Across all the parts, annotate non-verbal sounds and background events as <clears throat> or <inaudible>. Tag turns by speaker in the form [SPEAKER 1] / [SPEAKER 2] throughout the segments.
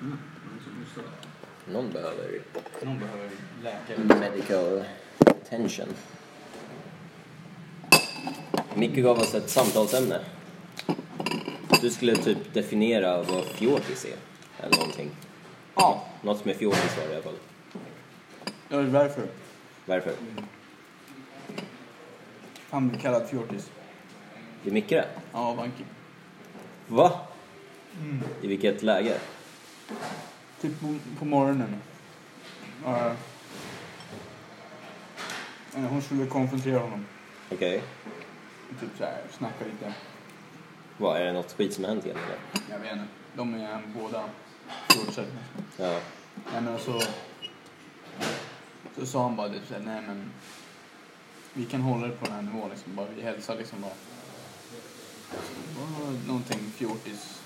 [SPEAKER 1] Mm.
[SPEAKER 2] Någon behöver
[SPEAKER 1] Någon behöver läkare.
[SPEAKER 2] medical attention. Micke gav oss ett samtalsämne. Du skulle typ definiera vad fjortis är, eller någonting.
[SPEAKER 1] Ja,
[SPEAKER 2] Något som är fjortis var det i alla fall.
[SPEAKER 1] det var därför.
[SPEAKER 2] Varför?
[SPEAKER 1] Han blir kallad fjortis.
[SPEAKER 2] Det är Micke det?
[SPEAKER 1] Ja, Vanki.
[SPEAKER 2] Va? I vilket läge?
[SPEAKER 1] Typ på, på morgonen. Uh, Eh, hon skulle konfrontera honom.
[SPEAKER 2] Okej.
[SPEAKER 1] Typ så här, snacka lite.
[SPEAKER 2] Vad, är det något skit som har hänt igen eller?
[SPEAKER 1] Jag vet inte. De är båda fjortisar.
[SPEAKER 2] Ja.
[SPEAKER 1] Nej men så... Så sa han bara typ såhär, nej men... Vi kan hålla det på den här nivån liksom. Bara, vi hälsar liksom bara. Så, bara någonting fjortis.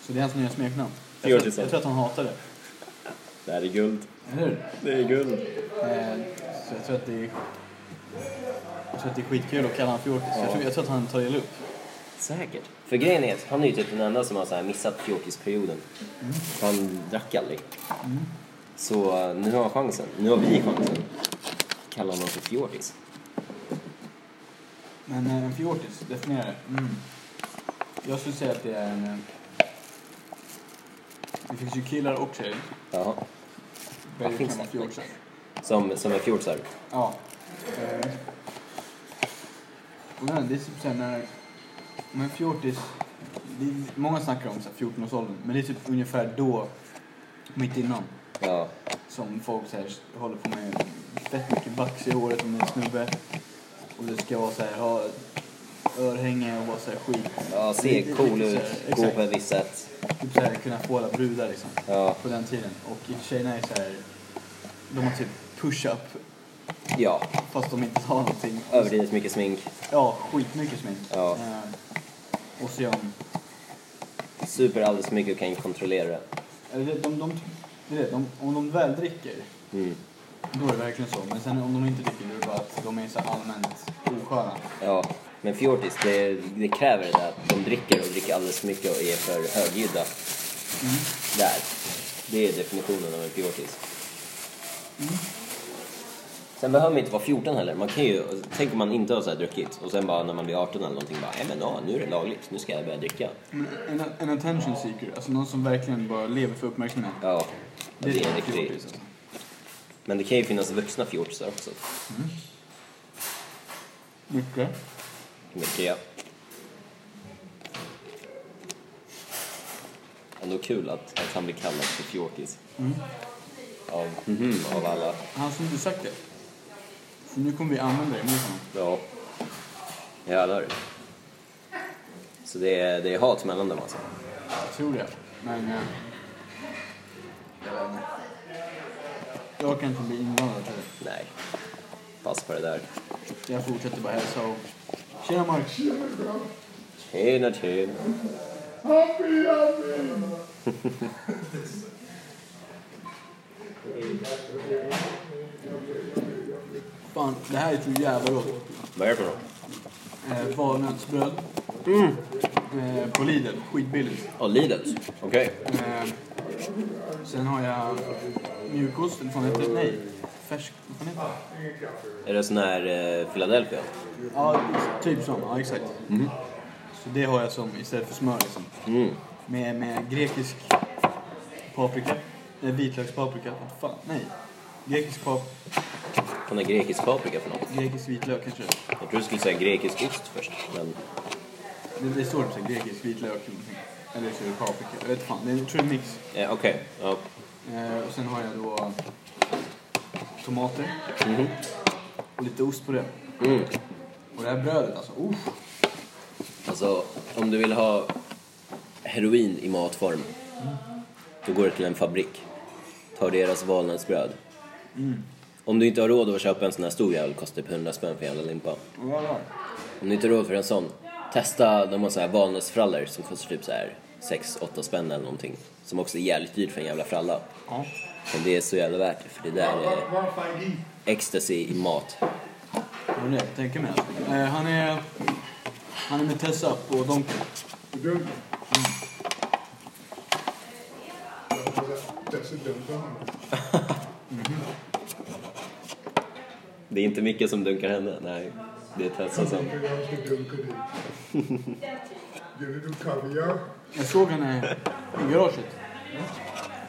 [SPEAKER 1] Så det är hans nya smeknamn. Jag tror,
[SPEAKER 2] Fjortisen.
[SPEAKER 1] jag tror att han hatar det.
[SPEAKER 2] Det här är guld.
[SPEAKER 1] Eller hur?
[SPEAKER 2] Det är guld.
[SPEAKER 1] Eh, så jag tror att det är... Jag tror att det är skitkul att kalla honom fjortis.
[SPEAKER 2] Ja.
[SPEAKER 1] Jag, tror, jag tror att han tar illa upp.
[SPEAKER 2] Säkert. För grejen är att han är ju typ den enda som har så här missat fjortisperioden. För Han drack aldrig. Så eh, nu har han chansen. Nu har vi chansen. Kalla honom för fjortis.
[SPEAKER 1] Men eh, en fjortis, definiera det. Mm. Jag skulle säga att det är en... eh, Det finns ju killar och tjejer.
[SPEAKER 2] Jaha.
[SPEAKER 1] Vad
[SPEAKER 2] finns
[SPEAKER 1] finns det?
[SPEAKER 2] det?
[SPEAKER 1] Fjortisar.
[SPEAKER 2] Som, som är fjortisar.
[SPEAKER 1] Ja. Eh. Och nej, det är typ såhär när... Men fjortis... Det är, många snackar om så här 14-årsåldern, men det är typ ungefär då, mitt innan,
[SPEAKER 2] Ja.
[SPEAKER 1] som folk så här, håller på med fett mycket vax i håret om det är en snubbe. Och det ska vara så här, ha örhänge och vara så här skit.
[SPEAKER 2] ja
[SPEAKER 1] Det-
[SPEAKER 2] se
[SPEAKER 1] det-
[SPEAKER 2] cool
[SPEAKER 1] det-
[SPEAKER 2] ut.
[SPEAKER 1] exakt.
[SPEAKER 2] Gå på ett visst sätt.
[SPEAKER 1] Typ så här, kunna få alla brudar liksom.
[SPEAKER 2] Ja.
[SPEAKER 1] På den tiden. Och tjejerna är så här, de har typ push-up
[SPEAKER 2] Ja.
[SPEAKER 1] fast de inte har någonting.
[SPEAKER 2] Överdrivet mycket smink.
[SPEAKER 1] Ja, skitmycket smink.
[SPEAKER 2] Ja.
[SPEAKER 1] Eh, och så gör de...
[SPEAKER 2] Super alldeles för mycket och kan inte kontrollera det.
[SPEAKER 1] Eller det, de, de, det är det, de, om de väl dricker,
[SPEAKER 2] Mm.
[SPEAKER 1] då är det verkligen så. Men sen om de inte dricker, då är det bara att de är så allmänt osköna.
[SPEAKER 2] Ja, men fjortis, det, det kräver det där att de dricker och dricker alldeles för mycket och är för högljudda. Mm. Där. Det är definitionen av en fjortis. Mm. Sen behöver man inte vara 14 heller. Man kan ju, tänk om man inte har så här druckit och sen bara när man blir 18 eller någonting bara, nej men ja, nu är det lagligt, nu ska jag börja dricka.
[SPEAKER 1] Men En, en attention seeker, alltså någon som verkligen bara lever för uppmärksamhet.
[SPEAKER 2] Ja, det, är en
[SPEAKER 1] fjortis,
[SPEAKER 2] riktig.
[SPEAKER 1] alltså.
[SPEAKER 2] Men det kan ju finnas vuxna fjortisar också.
[SPEAKER 1] Mycket.
[SPEAKER 2] Mycket ja. Ändå kul att, att han blir kallad för fjortis. Av, Mm. mhm, av alla.
[SPEAKER 1] Han som du sagt det. Så nu kommer vi använda det mot honom.
[SPEAKER 2] Ja. Jävlar. Så det är, det är hat mellan dem alltså?
[SPEAKER 1] Jag tror det. Men... eh, Jag vet inte. Jag kan inte bli inblandad i det.
[SPEAKER 2] Nej. Pass på det där.
[SPEAKER 1] Jag fortsätter bara hälsa och... Tjena Mark!
[SPEAKER 2] Tjena tjena.
[SPEAKER 1] Fan, det här är så jävla gott.
[SPEAKER 2] Vad är det för något?
[SPEAKER 1] Eh, Valnötsbröd. Eh, på Lidl, skitbilligt.
[SPEAKER 2] Åh, Lidl. Okej.
[SPEAKER 1] Eh, sen har jag mjukost, eller vad fan heter det? Nej, färsk... Vad fan heter det?
[SPEAKER 2] Är det sån här eh, Philadelphia?
[SPEAKER 1] Ja, typ sån. Ja, exakt. Så det har jag som istället för smör liksom.
[SPEAKER 2] Mm.
[SPEAKER 1] Med, med grekisk paprika. Eh, vitlökspaprika. Vad fan, nej. Grekisk, pap-
[SPEAKER 2] Vad är grekisk paprika för något?
[SPEAKER 1] grekisk vitlök kanske.
[SPEAKER 2] Jag trodde du skulle säga grekisk ost först. Men
[SPEAKER 1] Det, det står typ så här grekisk vitlök eller någonting. Eller så är det paprika. Jag vet fan. Det är, jag tror det är en mix.
[SPEAKER 2] eh, okej. Ja.
[SPEAKER 1] Eh, och sen har jag då tomater
[SPEAKER 2] Mhm.
[SPEAKER 1] och lite ost på det.
[SPEAKER 2] Mm.
[SPEAKER 1] Och det här brödet alltså, uff.
[SPEAKER 2] Alltså, om du vill ha heroin i matform, då går du till en fabrik. Tar deras valnötsbröd. Mm. Om du inte har råd att köpa en sån här stor jävel kostar det 100 spänn för en jävla limpa.
[SPEAKER 1] Och vad var
[SPEAKER 2] Om du inte har råd för en sån, testa de har så här valnötsfrallor som kostar typ så här 6-8 spänn eller någonting. Som också är jävligt dyrt för en jävla fralla.
[SPEAKER 1] Ja.
[SPEAKER 2] Men det är så jävla värt det, för det där är ecstasy i mat.
[SPEAKER 1] Det var det jag tänkte mig. alltså. Eh, han är... Han är med Tessa på Donken.
[SPEAKER 3] hade dessutom honom.
[SPEAKER 2] Det är inte mycket som dunkar henne. Nej, det är Tessa som...
[SPEAKER 3] Jag är så dum på det. Gjorde du kaviar?
[SPEAKER 1] Jag såg henne i garaget.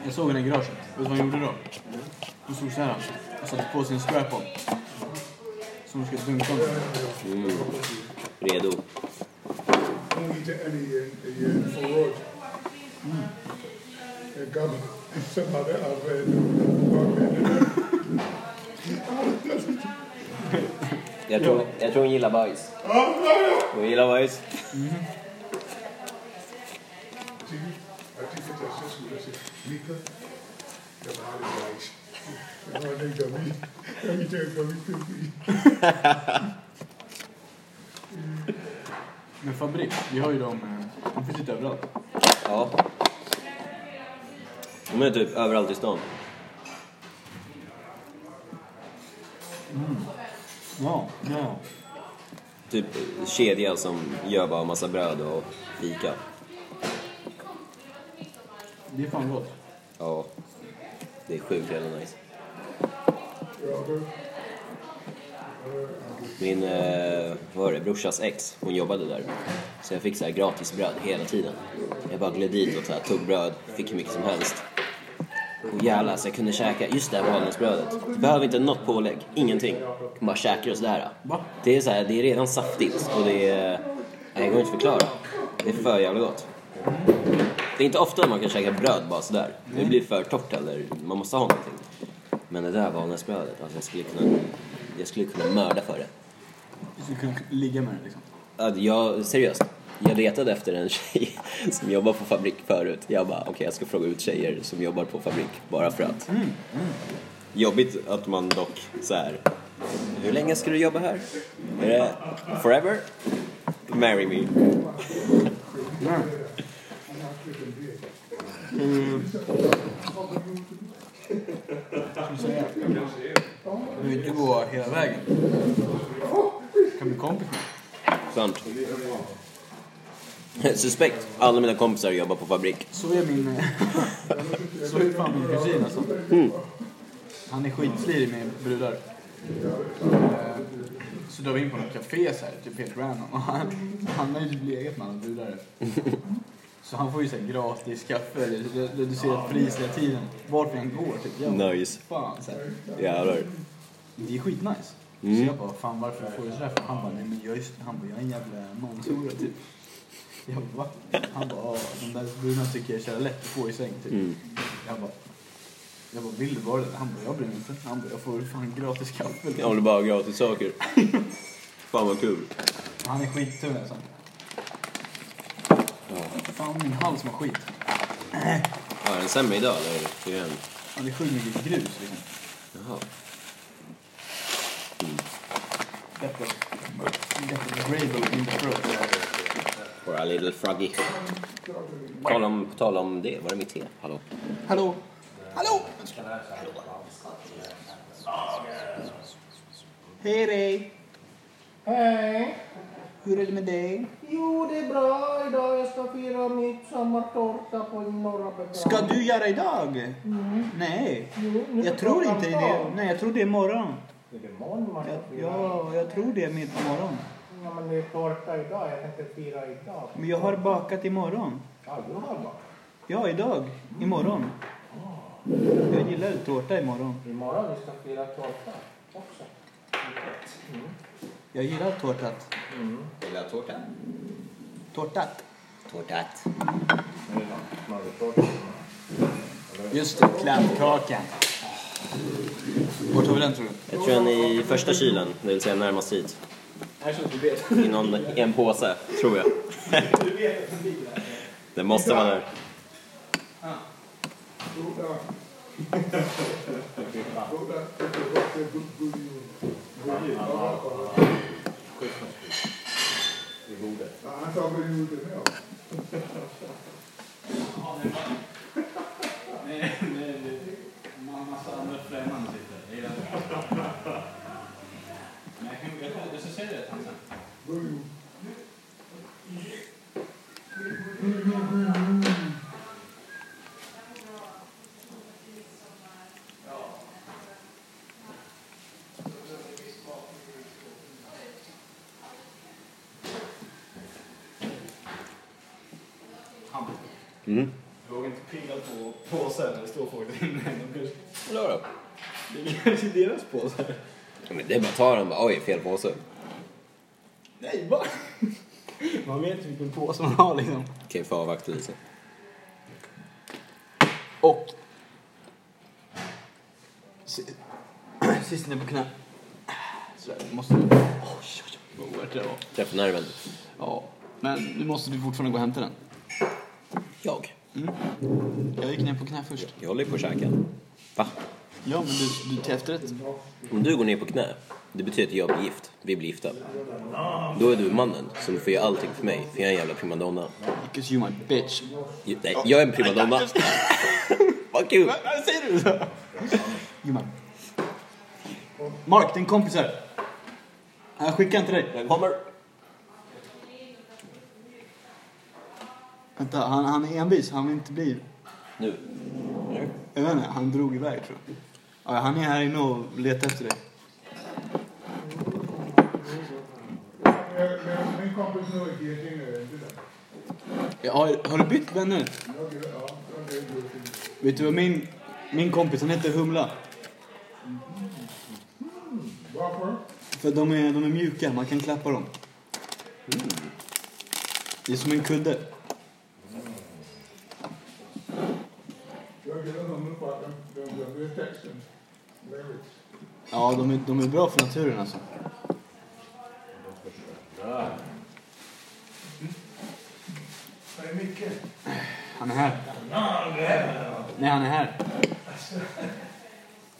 [SPEAKER 1] Jag såg henne i garaget. Vet du vad hon gjorde då? Hon stod så här och satte på sin strap-on. Som hon ska dunka med.
[SPEAKER 2] Mm. Redo.
[SPEAKER 3] Hon gick till en i en- i en förråd. En gammal som hade använt bakbenen.
[SPEAKER 2] Jag tror, jag tror hon gillar bajs. Hon gillar bajs.
[SPEAKER 3] Jag tycker att jag skulle säga, Mika, jag har aldrig bajs. Jag har aldrig gummi. Jag har inte en gummigubbe.
[SPEAKER 1] Men Fabrik, vi har ju dem... eh, De finns lite överallt.
[SPEAKER 2] Ja. De är typ överallt i stan.
[SPEAKER 1] Ja, ja.
[SPEAKER 2] Typ kedja som gör bara massa bröd och fika.
[SPEAKER 1] Det är fan gott.
[SPEAKER 2] Ja. Det är sjukt jävla nice. Min, eh, vad var det, brorsas ex, hon jobbade där. Så jag fick så här gratis bröd hela tiden. Jag bara gled dit och så här, tog bröd, fick hur mycket som helst. Och jävlar, så jag kunde käka just det här valnötsbrödet. Du behöver inte något pålägg, ingenting. Du bara käkar och sådär.
[SPEAKER 1] Va?
[SPEAKER 2] Det är så här, det är redan saftigt och det är... Nej, det går inte att förklara. Det är för jävla gott. Det är inte ofta man kan käka bröd bara sådär. Det blir för torrt eller man måste ha någonting. Men det där valnötsbrödet, alltså jag skulle kunna, jag skulle kunna mörda för det.
[SPEAKER 1] Du skulle kunna ligga med den liksom.
[SPEAKER 2] Att Jag, seriöst, jag letade efter en tjej <laughs> som jobbar på fabrik förut. Jag bara, okej jag ska fråga ut tjejer som jobbar på fabrik bara för att. Jobbigt att man dock så här. hur länge ska du jobba här? Är det forever? Marry me.
[SPEAKER 1] Du vill inte gå hela vägen. Kan bli kompis med.
[SPEAKER 2] Sant. <laughs> Suspekt. Alla mina kompisar jobbar på fabrik.
[SPEAKER 1] Så är min... eh, <laughs> så är fan min kusin alltså. Han är skitslirig med brudar. Eh, Så drar vi in på något café så här, typ helt random. Och han, han har ju typ legat med andra brudar. Så han får ju så här gratis kaffe, re- reducerat pris hela tiden. Vart vi än går typ. Jag bara,
[SPEAKER 2] Nice.
[SPEAKER 1] fan så här.
[SPEAKER 2] Jävlar.
[SPEAKER 1] Det är skitnice. Så jag bara, fan varför får du sådär? För han bara, nej men jag är, han bara, jag är en jävla manshora typ. Jag bara, va? Han bara, "Ja, de där brudna tycker jag är så jävla lätt att få i säng typ. Jag bara, jag bara, vill du vara det? Han bara, jag bryr mig inte. Han bara, jag får fan gratis kaffe.
[SPEAKER 2] Jag håller bara gratis saker. Fan vad kul.
[SPEAKER 1] Han är skittunn alltså. Fan min hals var skit.
[SPEAKER 2] Har den sämre idag eller? Igen.
[SPEAKER 1] Han är sjukt mycket grus liksom.
[SPEAKER 2] Jaha.
[SPEAKER 1] Detta, detta gravel in the throat.
[SPEAKER 2] Bara little froggy. Tala om, på tal om det, var det mitt te? Hallå?
[SPEAKER 1] Hallå? Hallå? Hej dig!
[SPEAKER 4] Hej!
[SPEAKER 1] Hur är det med dig?
[SPEAKER 4] Jo, det är bra idag. Jag ska fira midsommartårta på Norra Brunn.
[SPEAKER 1] Ska du göra idag? Nej,
[SPEAKER 4] Jo, nu
[SPEAKER 1] jag tror
[SPEAKER 4] klockan
[SPEAKER 1] inte det.
[SPEAKER 4] tolv.
[SPEAKER 1] Nej, jag tror det är imorgon.
[SPEAKER 4] Är det imorgon man ska fira?
[SPEAKER 1] Ja, jag tror det är mitt på morgon.
[SPEAKER 4] Ja, men det är tårta idag. Jag tänkte fira idag.
[SPEAKER 1] Men jag har bakat imorgon.
[SPEAKER 4] Ja, du har bara.
[SPEAKER 1] Ja, idag. Imorgon. Jag gillar tårta imorgon.
[SPEAKER 4] Imorgon vi ska fira tårta också.
[SPEAKER 1] Jag gillar tårtat.
[SPEAKER 2] Vill du ha tårta?
[SPEAKER 1] Tårtat.
[SPEAKER 2] Tårtat.
[SPEAKER 1] Just det, kladdkakan. Vart har vi den tror du?
[SPEAKER 2] Jag tror den är i första kylen, det vill säga närmast hit. I någon, i en påse, tror jag. Det måste vara där.
[SPEAKER 3] Han tar perioden med.
[SPEAKER 2] Mm.
[SPEAKER 5] Du vågar inte pilla på påsen när det står folk där inne. De kanske-
[SPEAKER 2] Eller då?
[SPEAKER 5] Det är kanske deras påsar.
[SPEAKER 2] Ja, men det är bara att ta den bara, oj, fel påse.
[SPEAKER 5] Nej, va? Man vet ju vilken påse man har liksom.
[SPEAKER 2] Okej, får avvakta lite.
[SPEAKER 5] Och...
[SPEAKER 1] <clears throat>
[SPEAKER 5] Si- Sist ner på knä.
[SPEAKER 1] Sådär, du måste... Oj, oj, oj, vad oerhört det var.
[SPEAKER 2] Träff nerven.
[SPEAKER 1] Ja. Men nu måste du fortfarande gå och hämta den.
[SPEAKER 2] Jag?
[SPEAKER 1] Jag gick ner på knä först.
[SPEAKER 2] Jag håller ju på att käka. Va?
[SPEAKER 1] Ja, men du, du till efterrätt.
[SPEAKER 2] Om du går ner på knä, det betyder att jag blir gift. Vi blir gifta. Då är du mannen som får göra allting för mig, för jag är en jävla primadonna.
[SPEAKER 1] Because you my bitch.
[SPEAKER 2] Ju- Nej, jag är en <laughs> primadonna. Vad kul!
[SPEAKER 1] Vad säger du så? Jo, men. Mark, din kompis här. Han skickar inte dig.
[SPEAKER 2] Kommer!
[SPEAKER 1] Vänta, han, han är envis. Han vill inte bli...
[SPEAKER 2] Nu. Nu.
[SPEAKER 1] Jag vet inte, han drog iväg tror jag. Ja, han är här inne och letar efter dig.
[SPEAKER 3] Men- men Min kompis nu är getingare, inte det?
[SPEAKER 1] Ja, har, har du bytt vänner?
[SPEAKER 3] Jag gör- ja, jag gör getingar.
[SPEAKER 1] Vet du vad min, min kompis, han heter Humla.
[SPEAKER 3] Varför?
[SPEAKER 1] För de är, de är mjuka, man kan klappa dem. Mm. Det är som en kudde.
[SPEAKER 3] Jag gillar honom för att de- de- de är texten. Lyrics.
[SPEAKER 1] Ja, de är, de är bra för naturen alltså.
[SPEAKER 3] Var är Micke?
[SPEAKER 1] Han är här. Nej, han är här.
[SPEAKER 3] Alltså,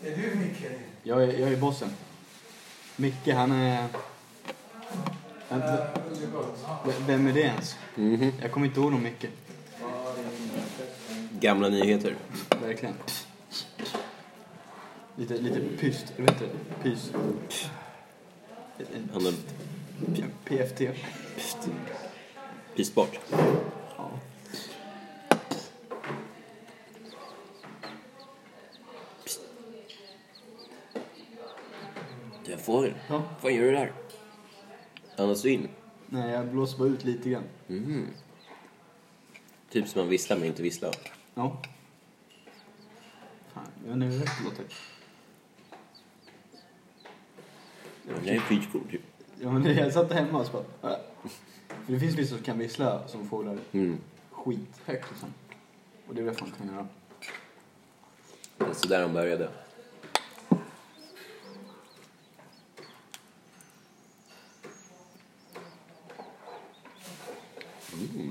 [SPEAKER 3] Är du Micke?
[SPEAKER 1] Jag är, jag är bossen. Micke, han är... Vänta, v- vem är det ens? Jag kommer inte ihåg någon Micke.
[SPEAKER 2] Gamla nyheter.
[SPEAKER 1] Verkligen. Lite, lite pyst. Eller vet du? Pys.
[SPEAKER 2] Han har
[SPEAKER 1] P- PFT.
[SPEAKER 2] pyst bort.
[SPEAKER 1] Ja.
[SPEAKER 2] Du, jag får den.
[SPEAKER 1] Ja.
[SPEAKER 2] Vad gör du där? Andas du in?
[SPEAKER 1] Nej, jag blåser bara ut lite grann.
[SPEAKER 2] Typ som man visslar men inte visslar.
[SPEAKER 1] Ja. Fan, jag vet inte hur rätt det låter.
[SPEAKER 2] Den här är skitcool typ.
[SPEAKER 1] Ja, men jag satt hemma och så bara... äh. För det finns vissa som kan vissla som fåglar
[SPEAKER 2] Mm.
[SPEAKER 1] skithögt liksom. Och det är därför man kan göra.
[SPEAKER 2] Det är sådär de började.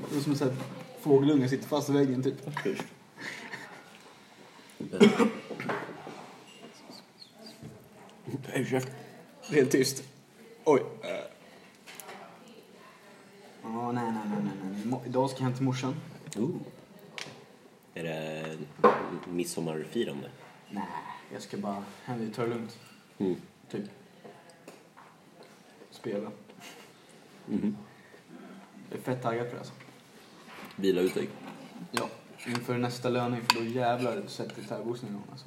[SPEAKER 1] Det är som en sån här fågelunge sitter fast i väggen typ.
[SPEAKER 2] Ursäkta.
[SPEAKER 1] Det är tyst. Oj. Äh. Åh, nej, nej, nej, nej, nej. Mo- Idag ska jag hem till morsan.
[SPEAKER 2] Ooh. Är det midsommarfirande?
[SPEAKER 1] Nej, jag ska bara hem dit, ta det lugnt.
[SPEAKER 2] Mm.
[SPEAKER 1] Typ. Spela.
[SPEAKER 2] Mhm.
[SPEAKER 1] Jag är fett taggad på det alltså.
[SPEAKER 2] Vila ut dig.
[SPEAKER 1] Ja. Inför nästa löning, för då jävlar sätter gitarrboxningen igång alltså.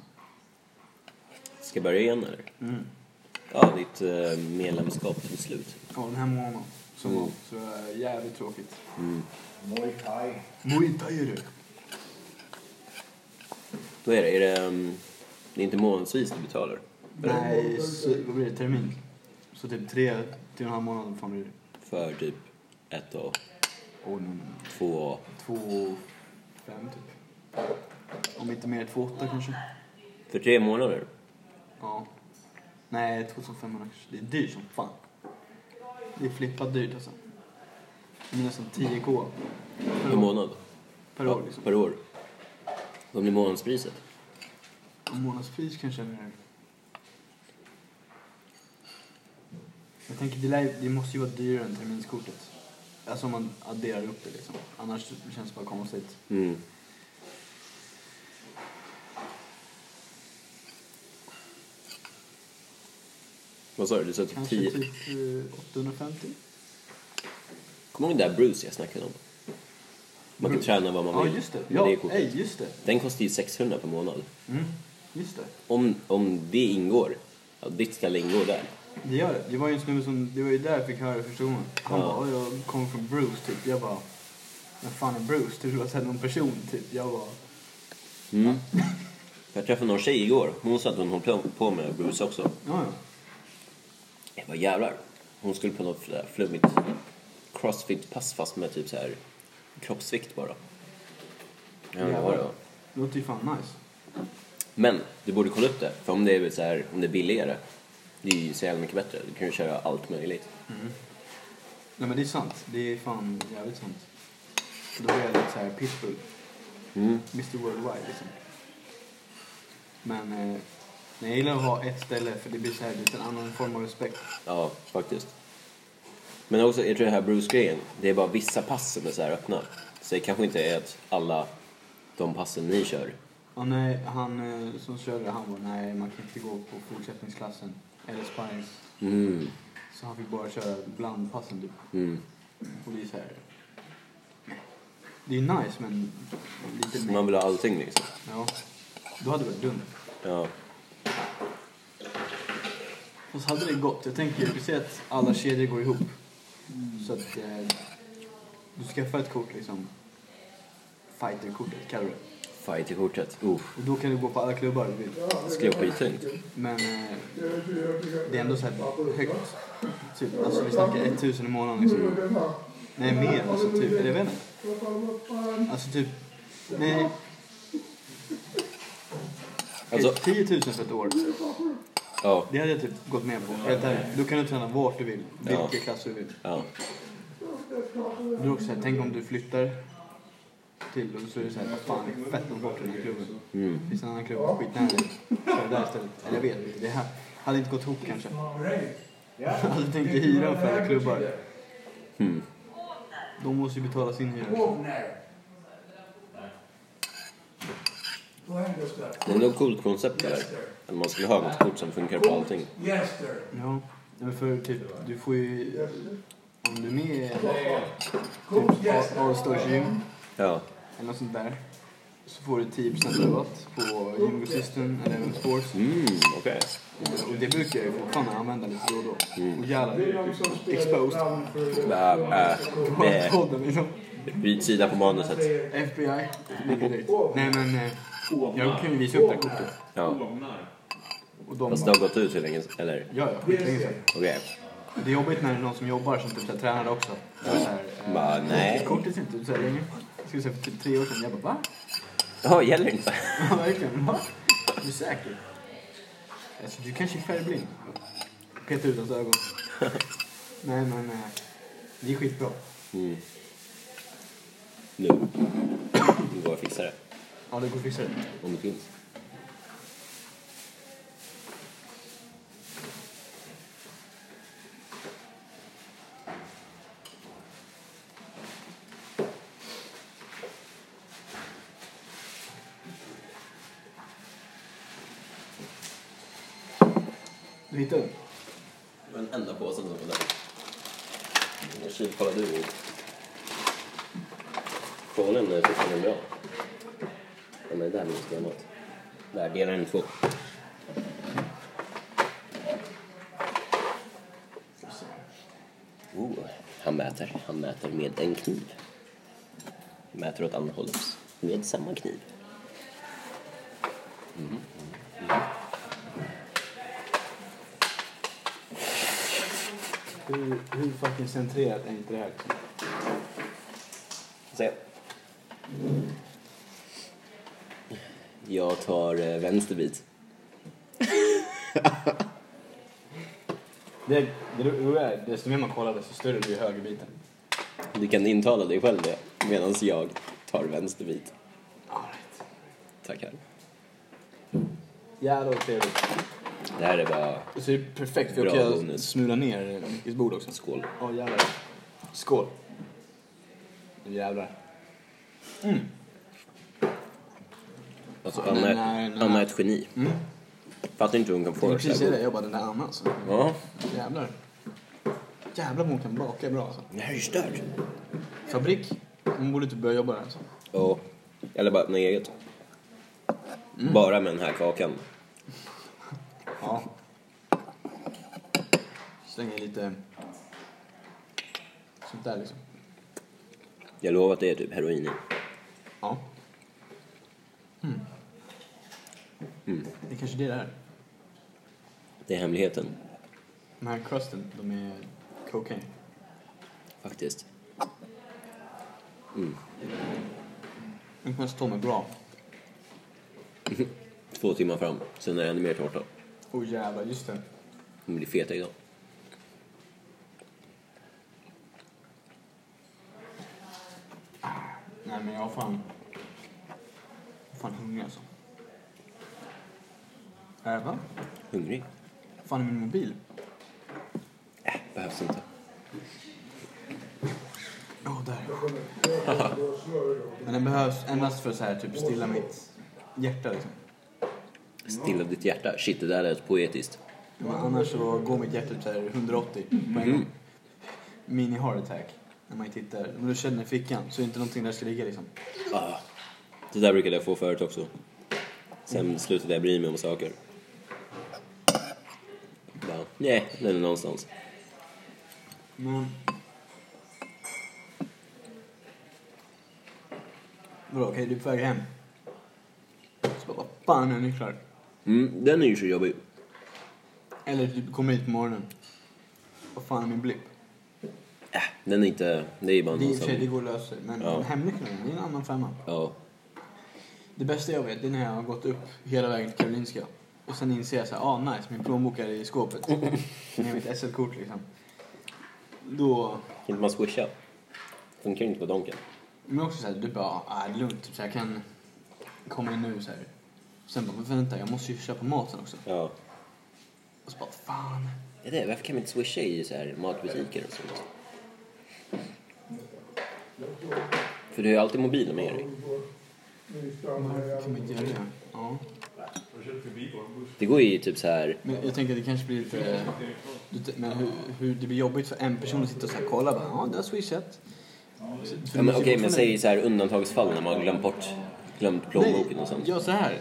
[SPEAKER 2] Ska jag börja igen eller?
[SPEAKER 1] Mm.
[SPEAKER 2] Ja, ditt eh, medlemskap är slut.
[SPEAKER 1] Ja, den här månaden. Som
[SPEAKER 2] Mm.
[SPEAKER 1] var. Så det är jävligt tråkigt.
[SPEAKER 5] Muay thai.
[SPEAKER 1] Muay thai är det.
[SPEAKER 2] Vad är det? Är det, ehm, det är inte månadsvis du betalar?
[SPEAKER 1] Nej, så, vad blir det? Termin? Så typ tre, tre och en halv månad fan blir det.
[SPEAKER 2] För typ ett och
[SPEAKER 1] Oh, no, no.
[SPEAKER 2] två och...
[SPEAKER 1] Två och fem typ. Om inte mer, två åtta kanske.
[SPEAKER 2] För tre månader?
[SPEAKER 1] Ja. Nej, 2500 kanske. Det är dyrt som fan. Det är flippat dyrt alltså. Det är nästan 10k
[SPEAKER 2] Per månad?
[SPEAKER 1] Mm. per år liksom.
[SPEAKER 2] Per år. Vad blir månadspriset?
[SPEAKER 1] Och månadspris kanske är mer. Jag tänker det, lär, ju- det måste ju vara dyrare än terminskortet. Alltså om man adderar upp det liksom. Annars känns det bara konstigt.
[SPEAKER 2] Mm. Vad sa du? Du sa typ
[SPEAKER 1] Kanske
[SPEAKER 2] 10?
[SPEAKER 1] typ eh, 850?
[SPEAKER 2] Kommer du ihåg den där Bruce jag snackade om? Man kan träna vad
[SPEAKER 1] Ja
[SPEAKER 2] man vill.
[SPEAKER 1] just det.
[SPEAKER 2] med
[SPEAKER 1] Ja,
[SPEAKER 2] kortet.
[SPEAKER 1] ej, just det.
[SPEAKER 2] Den kostar ju 600 per månad.
[SPEAKER 1] Mm. Just det.
[SPEAKER 2] Om, om det ingår, ja, ditt skalle ingår där.
[SPEAKER 1] Det gör det. Det var ju en snubbe som, det var ju där jag fick höra det första gången. Han
[SPEAKER 2] Ja.
[SPEAKER 1] bara, "Ja, jag kommer från Bruce typ. Jag bara, Vem fan är Bruce? Du har sett någon person typ. Jag var...
[SPEAKER 2] Mm. Jag träffade någon tjej igår. Hon sa att hon höll på- på med Bruce också.
[SPEAKER 1] Ja, ja.
[SPEAKER 2] Jag bara jävlar. Hon skulle på något sådär flummigt crossfit-pass fast med typ så här kroppsvikt bara. Jag vet inte vad det var.
[SPEAKER 1] Låter ju fan nice.
[SPEAKER 2] Men du borde kolla upp det. För om det är, så här, om det är billigare, det är ju så jävla mycket bättre. Du kan ju köra allt möjligt.
[SPEAKER 1] Nej men det är sant. Det är fan jävligt sant. Då är jag lite såhär pitbull.
[SPEAKER 2] Mm.
[SPEAKER 1] Mr Worldwide liksom. Men eh, nej, jag gillar att ha ett ställe för det blir såhär lite en annan form av respekt.
[SPEAKER 2] Ja, faktiskt. Men också, jag tror det här Bruce-grejen, det är bara vissa pass som är så här öppna. Så det kanske inte är att alla de passen ni kör.
[SPEAKER 1] Och nej, han eh, som körde han var nej man kan inte gå på fortsättningsklassen eller sparrings.
[SPEAKER 2] Mm.
[SPEAKER 1] Så han fick bara köra blandpassen typ.
[SPEAKER 2] Mm.
[SPEAKER 1] Och det är såhär. Det är nice men lite mer.
[SPEAKER 2] Man vill ha allting liksom.
[SPEAKER 1] Ja. Då hade det varit dumt.
[SPEAKER 2] Ja.
[SPEAKER 1] Och så hade det gått. Jag tänker, du ser att alla kedjor går ihop. Så att eh, du skaffar ett kort liksom. Fighterkortet kallar du det.
[SPEAKER 2] Fight i kortet. Oh,
[SPEAKER 1] Och då kan du gå på alla klubbar du vill.
[SPEAKER 2] det skulle vara skittungt.
[SPEAKER 1] Men eh, det är ändå så här högt. Typ, alltså vi snackar 1000 i månaden liksom. Nej mer, alltså typ, eller jag vet inte. Alltså typ, nej.
[SPEAKER 2] Alltså,
[SPEAKER 1] 10 000 Typ för ett år.
[SPEAKER 2] ja.
[SPEAKER 1] Det hade jag typ gått med på. Helt ärligt. Då kan du träna vart du vill, vilka
[SPEAKER 2] Ja.
[SPEAKER 1] klasser du vill.
[SPEAKER 2] ja.
[SPEAKER 1] Du är också så här, tänk om du flyttar till och så är det så här, fan det är fett långt bort i den här klubben.
[SPEAKER 2] Mm.
[SPEAKER 1] Finns det en annan klubb skitnära dig? Kör där istället. Eller jag vet inte, det här hade inte gått ihop kanske. Jag hade tänkt hyra för alla klubbar.
[SPEAKER 2] Mm.
[SPEAKER 1] De måste ju betala sin hyra.
[SPEAKER 2] Det är nog ett coolt koncept det där. Att man skulle ha något kort som funkar på allting.
[SPEAKER 4] Yes, sir.
[SPEAKER 1] Ja, men för typ, du får ju... Om du är med i
[SPEAKER 4] Coach, yes,
[SPEAKER 1] typ All Stars Gym
[SPEAKER 2] Ja.
[SPEAKER 1] eller något sånt där så får du 10% rabatt på gymgrossisten eller även sports.
[SPEAKER 2] Mm, okej.
[SPEAKER 1] Och det brukar jag ju fortfarande använda lite då och då. Och jävlar, det är ju exposed.
[SPEAKER 2] Äh, äh,
[SPEAKER 1] Bara <laughs>
[SPEAKER 2] äh.
[SPEAKER 1] podden liksom.
[SPEAKER 2] Byt sida på manuset.
[SPEAKER 1] FBI. Ligger dit. Nej men, eh, jag kan ju visa upp det här kortet.
[SPEAKER 2] Ja.
[SPEAKER 1] Och de
[SPEAKER 2] Fast det
[SPEAKER 1] bara,
[SPEAKER 2] har gått ut hur länge Eller?
[SPEAKER 1] ja ja, skitlänge sedan.
[SPEAKER 2] Okej.
[SPEAKER 1] Det är jobbigt när det är någon som jobbar som typ så här, tränare också. Så här, eh,
[SPEAKER 2] Bara, nej.
[SPEAKER 1] Kortet ser inte ut så här länge. Jag skulle säga för typ tre år sedan. Jag bara va? <laughs>
[SPEAKER 2] Jaha, gäller inte?
[SPEAKER 1] Ja verkligen, va? Är du säker? Alltså du kanske är färgblind. Peta ut hans ögon. Nej men, eh, det är skitbra.
[SPEAKER 2] Mm. Nu. Nu går jag och fixar det.
[SPEAKER 1] Ja det går att fixa det.
[SPEAKER 2] Om det finns.
[SPEAKER 1] Du hittade den?
[SPEAKER 2] Det var den enda påsen som var där. Jag tjuvkollade ur. Kolen är fortfarande bra. Den är där minst jag något. Där, dela den i två. Oh, han mäter. Han mäter med en kniv. Mäter åt andra hållet. Med samma kniv.
[SPEAKER 1] Hur, hur fucking centrerat är inte det här? liksom?
[SPEAKER 2] Se. Jag tar eh, vänster bit.
[SPEAKER 1] Det, det roliga är, desto mer man kollar desto större blir högerbiten.
[SPEAKER 2] Du kan intala dig själv det medan jag tar vänster bit.
[SPEAKER 1] Alright.
[SPEAKER 2] Tackar.
[SPEAKER 1] Jävlar vad trevligt.
[SPEAKER 2] Det här är bara
[SPEAKER 1] Så det är perfekt för
[SPEAKER 2] Bra
[SPEAKER 1] jag kan
[SPEAKER 2] bonus.
[SPEAKER 1] smula ner Mickes bord också.
[SPEAKER 2] skål.
[SPEAKER 1] Ja jävlar. Skål. Nu jävlar.
[SPEAKER 2] Alltså,
[SPEAKER 1] Ja, men
[SPEAKER 2] Anna,
[SPEAKER 1] nej, nej. Mm.
[SPEAKER 2] är, Anna är ett geni. Fattar inte hur hon kan
[SPEAKER 1] Det
[SPEAKER 2] få
[SPEAKER 1] är
[SPEAKER 2] det
[SPEAKER 1] precis
[SPEAKER 2] så
[SPEAKER 1] det
[SPEAKER 2] här
[SPEAKER 1] jag jobbade den där Anna alltså.
[SPEAKER 2] god. Ja.
[SPEAKER 1] Jävlar. Jävlar vad hon kan baka bra alltså.
[SPEAKER 2] Det här är ju stört.
[SPEAKER 1] Fabrik. Hon borde typ börja jobba där alltså.
[SPEAKER 2] Ja. Eller bara öppna eget.
[SPEAKER 1] Mm.
[SPEAKER 2] Bara med den här kakan.
[SPEAKER 1] Ja. Slänger lite sånt där liksom.
[SPEAKER 2] Jag lovar att det är typ heroin i.
[SPEAKER 1] Ja. Hmm. Det är kanske det där.
[SPEAKER 2] Det är hemligheten,
[SPEAKER 1] Den här kosten, de är kokain.
[SPEAKER 2] faktiskt.
[SPEAKER 1] Den kommer stå mig bra.
[SPEAKER 2] Två timmar fram, sen är det ännu mer tårta.
[SPEAKER 1] Åh oh, jävlar, just det.
[SPEAKER 2] De blir feta idag.
[SPEAKER 1] Nej men jag har fan... Jag är fan hungrig alltså. Äh, va?
[SPEAKER 2] Hungrig? Äh,
[SPEAKER 1] fan är min mobil?
[SPEAKER 2] Behövs inte.
[SPEAKER 1] Ja, där. men den behövs endast för så här typ stilla mitt hjärta liksom.
[SPEAKER 2] Stilla ditt hjärta. Shit, det där lät poetiskt.
[SPEAKER 1] Men annars så går mitt hjärta typ så här 180 på en gång. Mini heart attack. När man tittar. Om du känner i fickan så är det inte någonting där ska ligga liksom.
[SPEAKER 2] Ah. Det där brukade jag få förut också. Sen slutade jag bry mig om saker. Bara, nej, den är någonstans.
[SPEAKER 1] Men... Vadå, okej du är på väg hem. Så bara, vad fan är nycklar?
[SPEAKER 2] Mm, den är ju så jobbig.
[SPEAKER 1] Eller du kommer hit på morgonen. Vad fan är min blipp?
[SPEAKER 2] Äh, den är inte... Det är ju bara
[SPEAKER 1] Det, är i och
[SPEAKER 2] någon
[SPEAKER 1] för sig, det
[SPEAKER 2] som...
[SPEAKER 1] går att lösa men
[SPEAKER 2] Ja.
[SPEAKER 1] hemnycklarna, det är en annan femma.
[SPEAKER 2] Ja.
[SPEAKER 1] Det bästa jag vet det är när jag har gått upp hela vägen till Karolinska. Och sen inser jag så här, ah nice, min plånbok är i skåpet. Med mitt SL-kort liksom. Då...
[SPEAKER 2] Kan inte man swisha? Funkar inte på Donken.
[SPEAKER 1] Men också såhär, du bara, ah, det är lugnt, typ, så jag kan komma in nu så här. Sen bara, men vänta, jag måste ju köpa maten också.
[SPEAKER 2] Ja.
[SPEAKER 1] Och så bara, fan.
[SPEAKER 2] Det är det. Varför kan man inte swisha i så här matbutiker och sånt? För du har ju alltid mobilen med dig.
[SPEAKER 1] Varför kan man inte göra det? Ja.
[SPEAKER 2] Det går ju typ så här...
[SPEAKER 1] Men jag tänker att det kanske blir lite... du t- Men hur, hur det blir jobbigt för en person att sitta och så här kolla bara, ja, du har swishat. Så- för
[SPEAKER 2] Ja,
[SPEAKER 1] du
[SPEAKER 2] men
[SPEAKER 1] måste ju
[SPEAKER 2] okej,
[SPEAKER 1] fortfarande-
[SPEAKER 2] men säg så här undantagsfall när man har glömt bort glömt plånboken och sånt.
[SPEAKER 1] Nej, gör så här.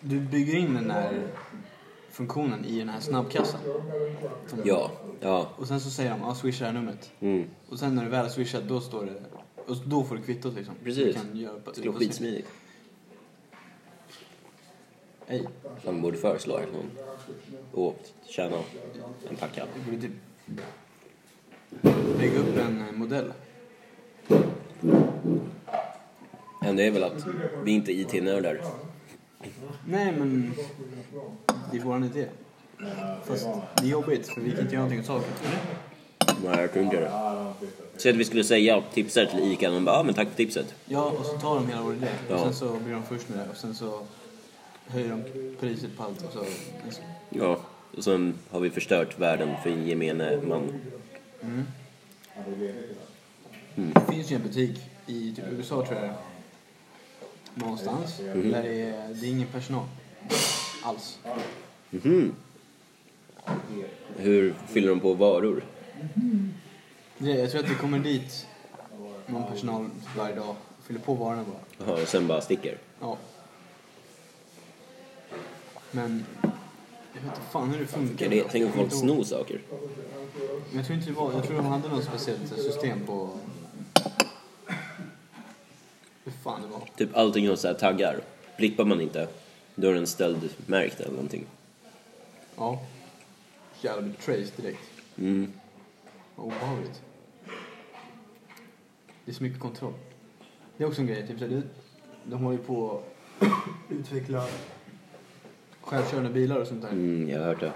[SPEAKER 1] Du bygger in den här funktionen i den här snabbkassan.
[SPEAKER 2] Ja, ja.
[SPEAKER 1] Och sen så säger de, ja swisha det här numret.
[SPEAKER 2] Mm.
[SPEAKER 1] Och sen när du väl har swishat då står det, och då får du kvittot liksom. Du
[SPEAKER 2] Precis.
[SPEAKER 1] kan göra,
[SPEAKER 2] Alltså, Det skulle vara skitsmidigt.
[SPEAKER 1] Ej,
[SPEAKER 2] Man borde föreslå att någon åkt, tjäna en packa.
[SPEAKER 1] du borde typ lägga upp en eh, modell.
[SPEAKER 2] Men det är väl att vi inte är IT-nördar.
[SPEAKER 1] Nej men, det är våran idé. Fast det är jobbigt för vi kan inte göra någonting åt saken.
[SPEAKER 2] Nej, jag tror inte det. Så att vi skulle säga tipsar till ICA, och de bara ja men tack för tipset.
[SPEAKER 1] Ja, och så tar de hela vår idé.
[SPEAKER 2] Ja.
[SPEAKER 1] Och sen så blir de först med det och sen så höjer de priset på allt och så...
[SPEAKER 2] Ja. Och sen har vi förstört världen för en gemene man.
[SPEAKER 1] Det finns ju en butik i typ USA tror jag det är. Någonstans.
[SPEAKER 2] Mm.
[SPEAKER 1] Där det är, det är ingen personal. Alls.
[SPEAKER 2] Hur fyller de på varor?
[SPEAKER 1] Det, jag tror att det kommer dit någon personal varje dag. Fyller på varorna bara.
[SPEAKER 2] Jaha, och sen bara sticker?
[SPEAKER 1] Ja. Men... Jag vet inte fan hur det funkar.
[SPEAKER 2] Ja, det, tänk om folk snor saker?
[SPEAKER 1] Men jag tror inte det var, jag tror de hade något speciellt system på... Hur fan det var.
[SPEAKER 2] Typ allting har så här taggar. Blippar man inte, då är den ställd märkt eller någonting.
[SPEAKER 1] Ja. Jävlar, blev trace direkt.
[SPEAKER 2] Mm.
[SPEAKER 1] Vad obehagligt. Det är så mycket kontroll. Det är också en grej, typ så här, det- de håller ju på att utveckla självkörande bilar och sånt där.
[SPEAKER 2] Mm, jag har hört det.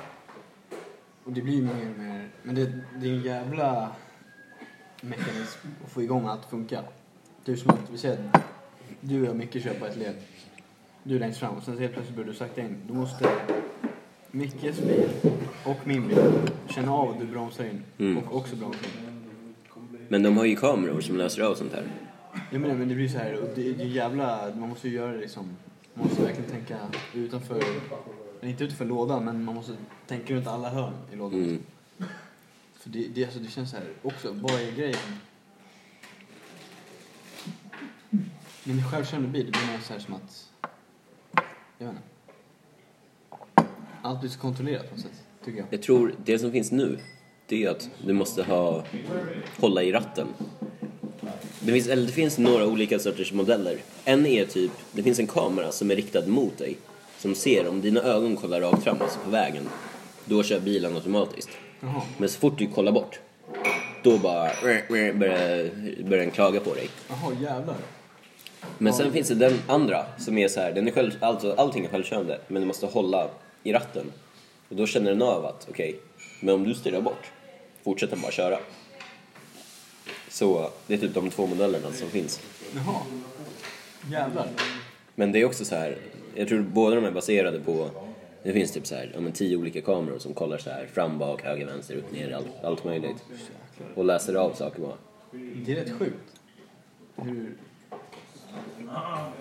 [SPEAKER 1] Och det blir ju mer och mer, men det, det är en jävla mekanism att få igång allt att funka. Du som att, vi säger att du och jag Micke kör på ett led. Du är längst fram och sen så helt plötsligt börjar du sakta in. Då måste Mickes bil och min bil känna av att du bromsar in
[SPEAKER 2] Mm.
[SPEAKER 1] och också bromsar in.
[SPEAKER 2] Men de har ju kameror som löser av sånt här.
[SPEAKER 1] Jag menar, men det blir så här, och det, det är jävla, man måste ju göra det liksom. Man måste verkligen tänka utanför, inte utanför lådan, men man måste tänka runt alla hörn i lådan.
[SPEAKER 2] Mm.
[SPEAKER 1] För det, det, alltså, det känns så här också, vad är grejen? Men självkörande bil, det blir mer så här som att... Jag vet inte. Allt blir så kontrollerat på något sätt, tycker jag.
[SPEAKER 2] Jag tror det som finns nu det är ju att du måste ha, hålla i ratten. Det finns, eller det finns några olika sorters modeller. En är typ, det finns en kamera som är riktad mot dig. Som ser, om dina ögon kollar rakt fram, alltså på vägen, då kör bilen automatiskt.
[SPEAKER 6] Jaha.
[SPEAKER 2] Men så fort du kollar bort, då bara börjar, börjar den klaga på dig.
[SPEAKER 6] Jaha, jävlar.
[SPEAKER 2] Men sen finns det den andra som är så här, den är själv, alltså, allting är självkörande men du måste hålla i ratten. Och då känner den av att, okej, men om du styrar bort, fortsätter den bara köra. Så det är typ de två modellerna som finns.
[SPEAKER 6] Jaha. Jävlar.
[SPEAKER 2] Men det är också så här, jag tror båda de är baserade på, det finns typ så här, ja, men tio olika kameror som kollar så här fram, bak, höger, vänster, upp, ner, allt, allt möjligt. Och läser av saker bara.
[SPEAKER 6] Det är rätt sjukt. Hur...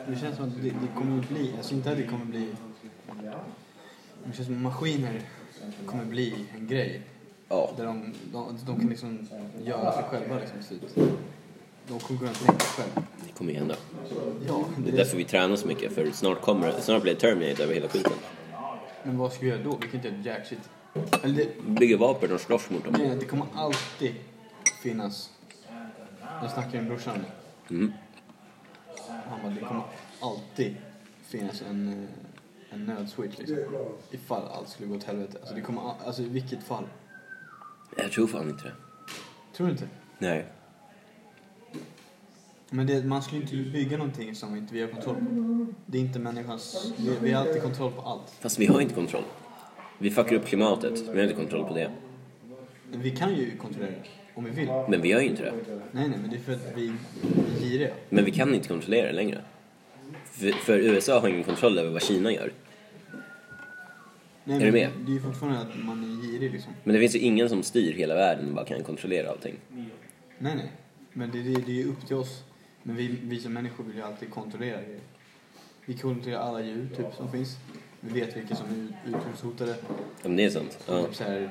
[SPEAKER 1] Det känns som att det, det kommer att bli, alltså inte att det kommer att bli... Det känns som att maskiner kommer att bli en grej.
[SPEAKER 2] Ja,
[SPEAKER 1] Där de, de, de kan liksom göra sig själva liksom till slut. De kommer kunna tänka själva.
[SPEAKER 2] det kommer ju hända.
[SPEAKER 1] Ja,
[SPEAKER 2] Det
[SPEAKER 1] det
[SPEAKER 2] är
[SPEAKER 1] är,
[SPEAKER 2] därför vi tränar så mycket, för snart, kommer, snart blir det Terminator över hela skiten.
[SPEAKER 1] men vad ska vi göra då? Vi kan inte göra jack shit. Eller det,
[SPEAKER 2] bygger vapen och slåss mot dem.
[SPEAKER 1] grejen är att det kommer alltid finnas... Jag snackade med brorsan.
[SPEAKER 2] Mm.
[SPEAKER 1] Han bara, det kommer alltid finnas en, eh, en nödswitch liksom. Ifall allt skulle gå åt helvete. Alltså, det kommer, all- alltså i vilket fall.
[SPEAKER 2] Jag tror fan inte det.
[SPEAKER 1] Tror du inte?
[SPEAKER 2] Nej.
[SPEAKER 1] Men det, man skulle inte bygga någonting som inte vi har kontroll på. Det är inte människans... Vi, vi har alltid kontroll på allt.
[SPEAKER 2] Fast vi har inte kontroll. Vi fuckar upp klimatet, vi har inte kontroll på det.
[SPEAKER 1] Men vi kan ju kontrollera det. Om vi vill.
[SPEAKER 2] Men vi gör ju inte det.
[SPEAKER 1] Nej, nej, men det är för att vi vi är giriga.
[SPEAKER 2] Men vi kan inte kontrollera det längre. För, för USA har ingen kontroll över vad Kina gör.
[SPEAKER 1] Nej,
[SPEAKER 2] Är du
[SPEAKER 1] men
[SPEAKER 2] med?
[SPEAKER 1] Det är ju fortfarande att man är girig liksom.
[SPEAKER 2] Men det finns ju ingen som styr hela världen och bara kan kontrollera allting.
[SPEAKER 1] Nej, nej. Men det, det, det är ju upp till oss. Men vi, vi som människor vill ju alltid kontrollera grejer. Vi kontrollerar alla djur typ som finns. Vi vet vilka som är ut- utrotningshotade.
[SPEAKER 2] Om det är sant. Ja.
[SPEAKER 1] Typ så här,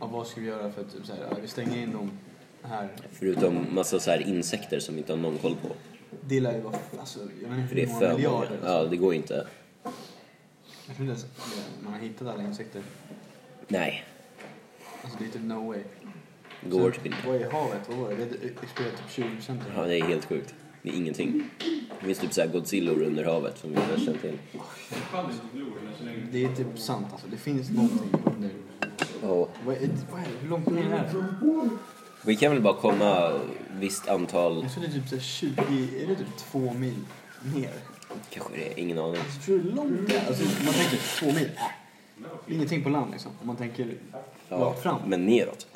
[SPEAKER 1] ja, vad ska vi göra för att typ så här, ja, vi stänger in dem här.
[SPEAKER 2] Förutom massa så här insekter som vi inte har någon koll på.
[SPEAKER 1] Det lär ju vara, alltså, jag vet inte
[SPEAKER 2] För det
[SPEAKER 1] hur
[SPEAKER 2] är
[SPEAKER 1] många
[SPEAKER 2] för många.
[SPEAKER 1] miljarder. Alltså.
[SPEAKER 2] Ja, det går inte.
[SPEAKER 1] Jag tror inte ens eh, man har hittat alla insekter.
[SPEAKER 2] Nej,
[SPEAKER 1] Alltså det är typ no way.
[SPEAKER 2] det går typ inte.
[SPEAKER 1] Vad är havet? Vad var det? Det exploderade typ 20 procent.
[SPEAKER 2] Ja, det är helt sjukt. Det är ingenting. Det finns typ så här godzillor under havet som vi inte har känt till.
[SPEAKER 1] Det är typ sant alltså. Det finns någonting under.
[SPEAKER 2] Ja.
[SPEAKER 1] Vad är, vad är det? Hur långt ner är det?
[SPEAKER 2] Vi kan väl bara komma visst antal,
[SPEAKER 1] Jag tror det är typ så här 20, är det typ 2 mil ner?
[SPEAKER 2] kanske det är, ingen aning.
[SPEAKER 1] Jag tror det är långt ner. Alltså man tänker 2 mil, äh. Det är Ingenting på land liksom. Om man tänker rakt fram.
[SPEAKER 2] Men neråt.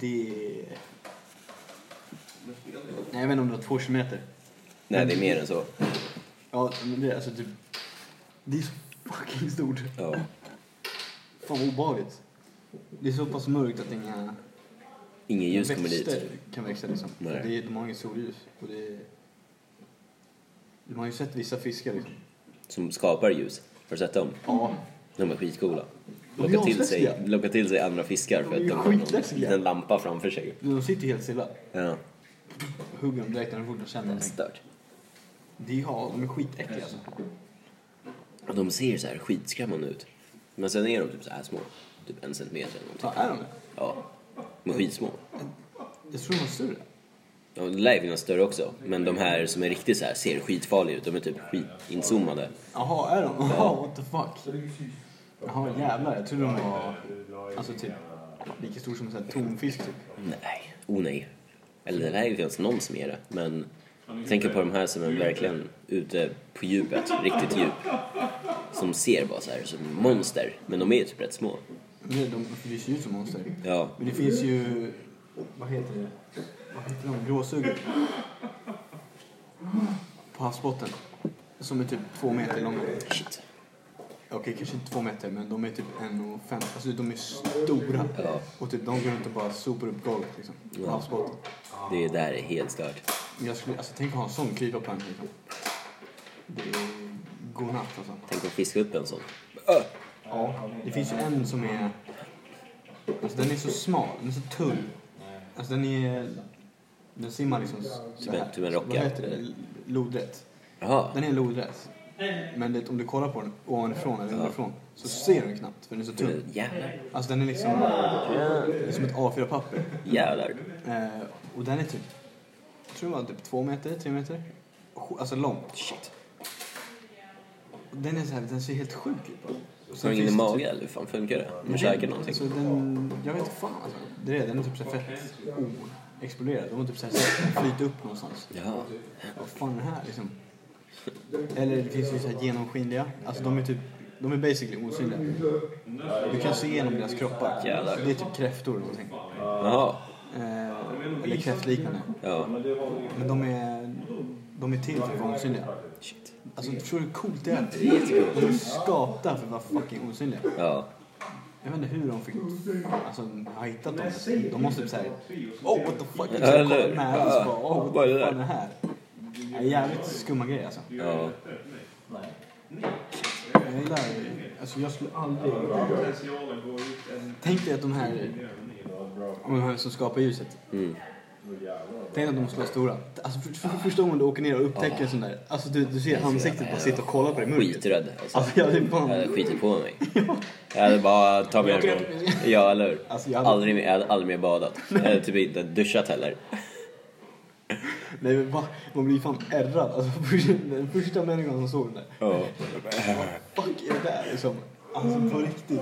[SPEAKER 1] Det är... Nej, jag vet inte om det var 2 kilometer.
[SPEAKER 2] Nej, det är mer än så.
[SPEAKER 1] Ja, men det är alltså typ... Det är så fucking stort.
[SPEAKER 2] Ja.
[SPEAKER 1] Fan vad obehagligt. Det är så pass mörkt att inga
[SPEAKER 2] Ingen ljus kommer dit.
[SPEAKER 1] växter kan växa liksom.
[SPEAKER 2] Nej.
[SPEAKER 1] För Det är, de har inget solljus. Och det är... De har ju sett vissa fiskar liksom.
[SPEAKER 2] Som skapar ljus. Har du sett dem?
[SPEAKER 1] Ja.
[SPEAKER 2] De är skitcoola.
[SPEAKER 1] De är
[SPEAKER 2] Lockar till,
[SPEAKER 1] asläskiga.
[SPEAKER 2] sig, lockar till sig andra fiskar för
[SPEAKER 1] De är
[SPEAKER 2] att de har någon
[SPEAKER 1] skitläskiga.
[SPEAKER 2] liten lampa framför sig.
[SPEAKER 1] De sitter helt stilla.
[SPEAKER 2] Ja,
[SPEAKER 1] Hugger dem direkt när de fort de känner någonting.
[SPEAKER 2] stört.
[SPEAKER 1] Det är, ja, de är skitäckliga alltså.
[SPEAKER 2] Och de ser så här skitskrämmande ut. Men sen är de typ så här små. Typ en centimeter eller någonting.
[SPEAKER 1] Ja, är de det?
[SPEAKER 2] Ja. De är skitsmå.
[SPEAKER 1] Jag tror de var större.
[SPEAKER 2] Ja, det lär ju finnas större också. Men de här som är riktigt så här ser skitfarliga ut. De är typ skitinzoomade.
[SPEAKER 1] Jaha, är de? <laughs> Ja, what the fuck? Jaha, jävlar. Jag trodde de var alltså typ lika stor som en sån här tonfisk typ.
[SPEAKER 2] Nej, o nej. Eller det lär ju finnas någon som är det, men jag tänker på de här som är verkligen ute på djupet, riktigt djup. Som ser bara så här som monster, men de är ju typ rätt små.
[SPEAKER 1] De, de, de ser ju ut som monster.
[SPEAKER 2] Ja,
[SPEAKER 1] Men det finns ju... Vad heter det? Vad heter de? Gråsugor. På havsbotten. Som är typ två meter långa.
[SPEAKER 2] shit.
[SPEAKER 1] Okej, kanske inte två meter, men de är typ 1,50. Alltså de är stora.
[SPEAKER 2] Ja.
[SPEAKER 1] Och typ de går runt och bara sopar upp golvet liksom. På
[SPEAKER 2] Ja.
[SPEAKER 1] havsbotten.
[SPEAKER 2] Det där är helt stört.
[SPEAKER 1] Men Jag skulle, alltså tänk att ha en sån kryparplank liksom. Det är godnatt alltså.
[SPEAKER 2] Tänk att fiska upp en sån.
[SPEAKER 1] Ja, det finns ju en som är... Alltså den är så smal, den är så tunn. Alltså den är... Den simmar liksom så
[SPEAKER 2] Typ en-
[SPEAKER 1] här.
[SPEAKER 2] typ en rockare,
[SPEAKER 1] Vad heter det?
[SPEAKER 2] eller?
[SPEAKER 1] Lodrätt.
[SPEAKER 2] Jaha,
[SPEAKER 1] Den är lodrätt. Men det, om du kollar på den ovanifrån eller underifrån så ser du den knappt för den är så tunn.
[SPEAKER 2] Jävlar.
[SPEAKER 1] Alltså den är liksom det är som ett A4-papper.
[SPEAKER 2] Jävlar.
[SPEAKER 1] Eh, och den är typ, jag tror det var typ två meter, tre meter. Sj- Alltså lång.
[SPEAKER 2] Shit.
[SPEAKER 1] Och Den, är så här, den ser helt sjuk ut bara. Och
[SPEAKER 2] Har
[SPEAKER 1] sen
[SPEAKER 2] du ingen i
[SPEAKER 1] finns det typ- Mm.
[SPEAKER 2] magen eller hur fan funkar det? Om du käkar någonting?
[SPEAKER 1] Så alltså, den, jag vet inte fan alltså. Det är det, den är typ så här fett oexploderad. De har typ så här sett den flyta upp någonstans.
[SPEAKER 2] Jaha.
[SPEAKER 1] Vad fan är det här liksom? Eller det finns ju så här genomskinliga. Alltså de är typ, de är basically osynliga. Du kan se igenom deras kroppar.
[SPEAKER 2] Jävlar.
[SPEAKER 1] Det är typ kräftor eller någonting.
[SPEAKER 2] Jaha.
[SPEAKER 1] Eh, eller kräftliknande.
[SPEAKER 2] Ja.
[SPEAKER 1] Men de är, de är till för att vara osynliga.
[SPEAKER 2] Shit.
[SPEAKER 1] Alltså förstår du hur coolt det är? De är skapta för att vara fucking osynliga.
[SPEAKER 2] Ja.
[SPEAKER 1] Jag vet inte hur de fick, alltså, har hittat dem. De måste typ såhär, oh what the fuck.
[SPEAKER 2] Ja,
[SPEAKER 1] Liksom, kolla
[SPEAKER 2] eller-
[SPEAKER 1] nära och så bara, oh
[SPEAKER 2] Vad
[SPEAKER 1] what
[SPEAKER 2] är
[SPEAKER 1] the
[SPEAKER 2] det
[SPEAKER 1] fuck
[SPEAKER 2] där?
[SPEAKER 1] är det här? Det är jävligt skumma grejer alltså.
[SPEAKER 2] Ja.
[SPEAKER 1] Jag gillar, alltså jag skulle aldrig... Tänk dig att de här, om de här som skapar ljuset.
[SPEAKER 2] Mm.
[SPEAKER 1] Tänk att de måste vara stora. Alltså för, för, första gången du åker ner och upptäcker en sån där. Alltså du, du ser ansiktet bara sitta och kolla på dig i mörkret.
[SPEAKER 2] Skiträdd alltså.
[SPEAKER 1] Alltså jag hade
[SPEAKER 2] Jag
[SPEAKER 1] bara...
[SPEAKER 2] hade skitit på <laughs> mig. Jag hade bara ta mig
[SPEAKER 1] Jag åker
[SPEAKER 2] härifrån. Ja, eller hur?
[SPEAKER 1] Alltså, jag hade-
[SPEAKER 2] Aldrig mer, jag hade aldrig mer <laughs> badat. Jag hade typ inte duschat heller.
[SPEAKER 1] Nej men bara, man blir fan ärrad. Alltså <laughs> första- den första människan som såg den där.
[SPEAKER 2] Ja.
[SPEAKER 1] Fuck är det där liksom? Alltså på riktigt.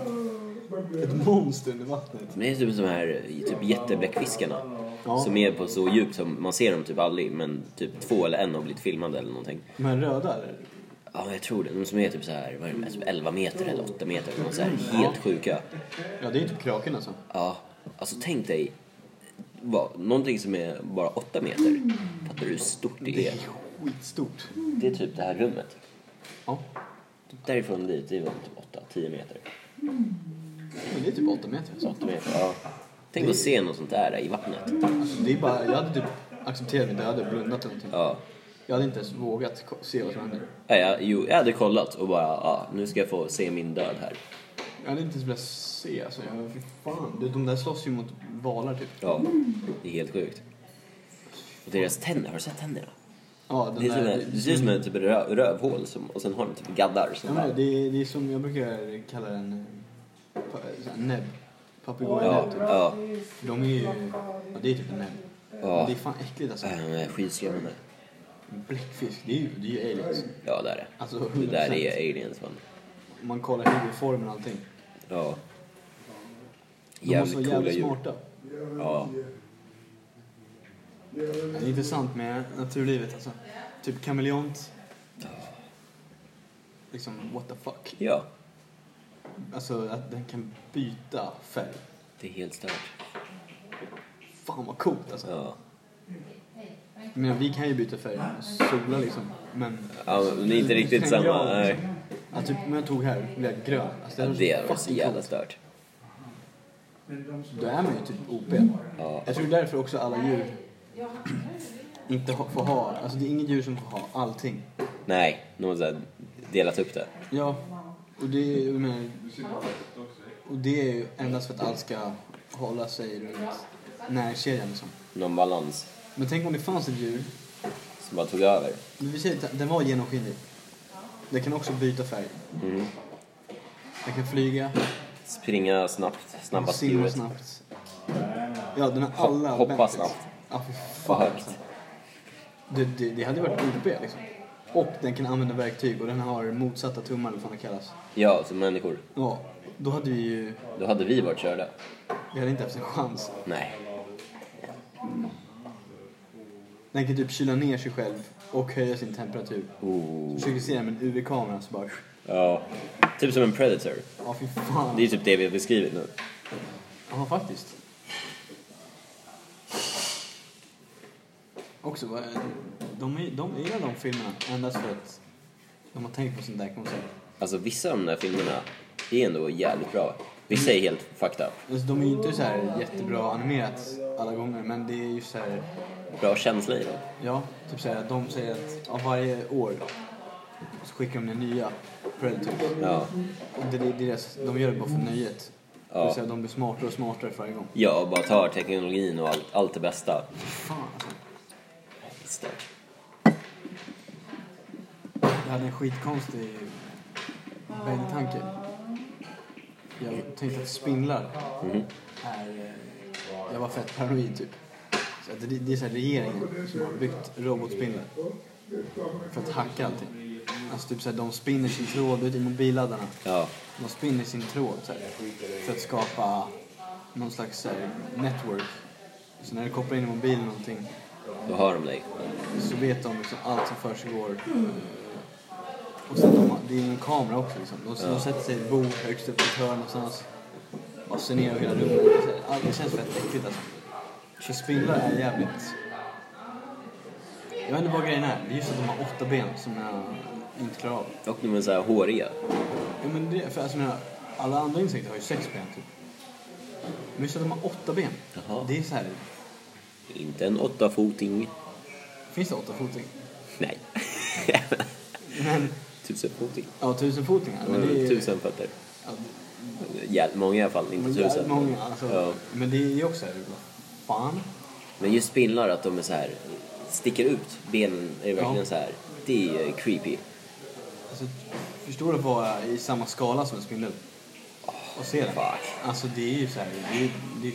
[SPEAKER 1] Ett monster under vattnet.
[SPEAKER 2] Men det är typ som de här typ jättebläckfiskarna.
[SPEAKER 1] Ja.
[SPEAKER 2] Som är på så djupt som man ser dem typ aldrig men typ två eller en har blivit filmade eller någonting.
[SPEAKER 1] De här röda eller?
[SPEAKER 2] Ja, jag tror det. De som är typ så här, vad är de, typ 11 meter eller 8 meter. De är så här helt sjuka.
[SPEAKER 1] Ja det är typ kraken alltså.
[SPEAKER 2] Ja, alltså tänk dig vad, någonting som är bara 8 meter. Fattar du hur stort det
[SPEAKER 1] Det
[SPEAKER 2] är?
[SPEAKER 1] är skitstort.
[SPEAKER 2] Det är typ det här rummet.
[SPEAKER 1] Ja.
[SPEAKER 2] Typ därifrån dit, det är väl typ 8-10 meter.
[SPEAKER 1] Men det är typ 8 meter. Så.
[SPEAKER 2] 8 meter, ja. Tänk att se något sånt där i vattnet.
[SPEAKER 1] Alltså, det är bara, jag hade typ accepterat min död och blundat eller någonting.
[SPEAKER 2] Ja.
[SPEAKER 1] Jag hade inte ens vågat ko- se vad som hände.
[SPEAKER 2] Ja, jag, jo, jag hade kollat och bara, ja, nu ska jag få se min död här.
[SPEAKER 1] Jag hade inte ens velat se alltså. Jag, fy fan. Du, de där slåss ju mot valar typ.
[SPEAKER 2] Ja, det är helt sjukt. Och deras tänder, har du sett tänderna?
[SPEAKER 1] Ja,
[SPEAKER 2] Det,
[SPEAKER 1] den
[SPEAKER 2] är som en, det ser ut som en typ röv, rövhål som, och sen har de typ gaddar.
[SPEAKER 1] Ja,
[SPEAKER 2] Som
[SPEAKER 1] men
[SPEAKER 2] bara,
[SPEAKER 1] det, är- det är som jag brukar kalla den eh, pa, så här, näbb.
[SPEAKER 2] ja,
[SPEAKER 1] Papegojanäbb. typ.
[SPEAKER 2] ja,
[SPEAKER 1] De är ju... Ja, det är typ en näbb.
[SPEAKER 2] ja.
[SPEAKER 1] Men Det är fan äckligt alltså.
[SPEAKER 2] Äh, de är skitskrämmande.
[SPEAKER 1] Bläckfisk, det är ju, det är ju aliens.
[SPEAKER 2] Ja, det är det.
[SPEAKER 1] Alltså
[SPEAKER 2] Det
[SPEAKER 1] 100%.
[SPEAKER 2] där är aliens man.
[SPEAKER 1] Om Man kollar huvudformen och allting.
[SPEAKER 2] Ja.
[SPEAKER 1] De måste vara
[SPEAKER 2] Jävligt coola
[SPEAKER 1] jävligt
[SPEAKER 2] djur.
[SPEAKER 1] smarta.
[SPEAKER 2] Ja.
[SPEAKER 1] Det är intressant med naturlivet alltså. Typ kameleont. Liksom what the fuck.
[SPEAKER 2] ja,
[SPEAKER 1] Alltså att den kan byta färg.
[SPEAKER 2] det är helt stört.
[SPEAKER 1] Fan vad coolt alltså.
[SPEAKER 2] Ja.
[SPEAKER 1] Men vi kan ju byta färg och sola liksom. Men...
[SPEAKER 2] ja, men det är inte riktigt
[SPEAKER 1] Tänker jag,
[SPEAKER 2] samma. Nej.
[SPEAKER 1] liksom. Ja, typ om jag tog här blev jag grön. Alltså,
[SPEAKER 2] Ja,
[SPEAKER 1] hade
[SPEAKER 2] det
[SPEAKER 1] varit
[SPEAKER 2] var så
[SPEAKER 1] fucking
[SPEAKER 2] jävla
[SPEAKER 1] coolt.
[SPEAKER 2] stört.
[SPEAKER 1] Då är man ju typ OP.
[SPEAKER 2] Ja.
[SPEAKER 1] Jag tror därför också alla djur inte ha- får ha, alltså det är inget djur som får ha allting.
[SPEAKER 2] Nej, de har så här delat upp det.
[SPEAKER 1] Ja, och det är ju, jag menar, och det är ju endast för att allt ska hålla sig runt närkedjan liksom.
[SPEAKER 2] Någon balans
[SPEAKER 1] Men tänk om det fanns ett djur,
[SPEAKER 2] som bara tog över.
[SPEAKER 1] men vi säger att den var genomskinlig. Den kan också byta färg.
[SPEAKER 2] Mm.
[SPEAKER 1] Den kan flyga,
[SPEAKER 2] Springa snabbt, snabbast i
[SPEAKER 1] simma
[SPEAKER 2] huvudet.
[SPEAKER 1] snabbt. Ja, den har alla
[SPEAKER 2] Hop- hoppa
[SPEAKER 1] benefits.
[SPEAKER 2] snabbt.
[SPEAKER 1] Ja, fy
[SPEAKER 2] Vad
[SPEAKER 1] fan.
[SPEAKER 2] högt.
[SPEAKER 1] Det, det, det hade ju varit OP liksom. Och den kan använda verktyg och den har motsatta tummar eller vad fan det kallas.
[SPEAKER 2] Ja, som människor.
[SPEAKER 1] Ja, då hade vi ju...
[SPEAKER 2] Då hade vi varit körda.
[SPEAKER 1] Vi hade inte haft en chans.
[SPEAKER 2] Nej.
[SPEAKER 1] Den kan typ kyla ner sig själv och höja sin temperatur.
[SPEAKER 2] Oh.
[SPEAKER 1] Försöker se den med en UV-kamera så bara...
[SPEAKER 2] Ja. Typ som en predator.
[SPEAKER 1] Ja, fy fan.
[SPEAKER 2] Det är typ det vi har beskrivit nu.
[SPEAKER 1] Ja, faktiskt. Också, vad- de, är, de gillar de filmerna endast för att de har tänkt på sånt där koncept.
[SPEAKER 2] Alltså vissa av de där filmerna är ändå jävligt bra. Vissa är helt fucked up.
[SPEAKER 1] Alltså, de är ju inte så här jättebra animerat alla gånger, men det är ju så här...
[SPEAKER 2] Bra känsla i dem.
[SPEAKER 1] Ja, typ såhär, de säger att ja, varje år så skickar de ner nya Predators.
[SPEAKER 2] Ja.
[SPEAKER 1] Och det, det, deras, de gör det bara för nöjet.
[SPEAKER 2] Ja.
[SPEAKER 1] Det vill säga, de blir smartare och smartare för varje gång.
[SPEAKER 2] Ja, och bara tar teknologin och allt, allt det bästa.
[SPEAKER 1] Fan alltså.
[SPEAKER 2] Stört.
[SPEAKER 1] Jag hade en skitkonstig bänktanke. Jag tänkte att spindlar
[SPEAKER 2] Mm-hmm.
[SPEAKER 1] är... eh, Jag var fett paranoid typ. Så att det, det är så här regeringen som har byggt robotspindlar för att hacka allting. Alltså typ så här, de spinner sin tråd ut i mobilladdarna.
[SPEAKER 2] Ja.
[SPEAKER 1] De spinner sin tråd så här, för att skapa någon slags så här, network. Så när du kopplar in i mobilen någonting
[SPEAKER 2] Då hör de dig.
[SPEAKER 1] så vet de liksom allt som försiggår. Och sen de, det är en kamera också liksom. De, de sätter sig i ett bord högst upp i ett hörn någonstans. Bara ser ner över hela rummet. Det är så här- allt- Det känns fett äckligt alltså. För spindlar är jävligt... Jag vet inte vad grejen är. Det är just att de har åtta ben som jag inte klarar av.
[SPEAKER 2] Och de är så här håriga.
[SPEAKER 1] Ja, men det, för alltså, jag menar, alla andra insekter har ju sex ben typ. Men just att de har åtta ben.
[SPEAKER 2] Jaha.
[SPEAKER 1] Det är så här.
[SPEAKER 2] Inte en åttafoting.
[SPEAKER 1] Finns det åttafoting?
[SPEAKER 2] Nej. <laughs> Tusenfoting.
[SPEAKER 1] Ja, tusenfotingar. Men det är,
[SPEAKER 2] Tusen fötter.
[SPEAKER 1] Ja,
[SPEAKER 2] Jävligt många i alla fall, inte
[SPEAKER 1] Men
[SPEAKER 2] tusen.
[SPEAKER 1] jävligt många. Alltså,
[SPEAKER 2] Ja.
[SPEAKER 1] Men det är ju också här, typ, vad fan.
[SPEAKER 2] Men just spindlar, att de är så här, sticker ut benen, är verkligen
[SPEAKER 1] Ja.
[SPEAKER 2] så här. Det är creepy.
[SPEAKER 1] Alltså, förstår du att vara i samma skala som en spindel? Och se den.
[SPEAKER 2] fuck.
[SPEAKER 1] Alltså det är ju så här, det är, det är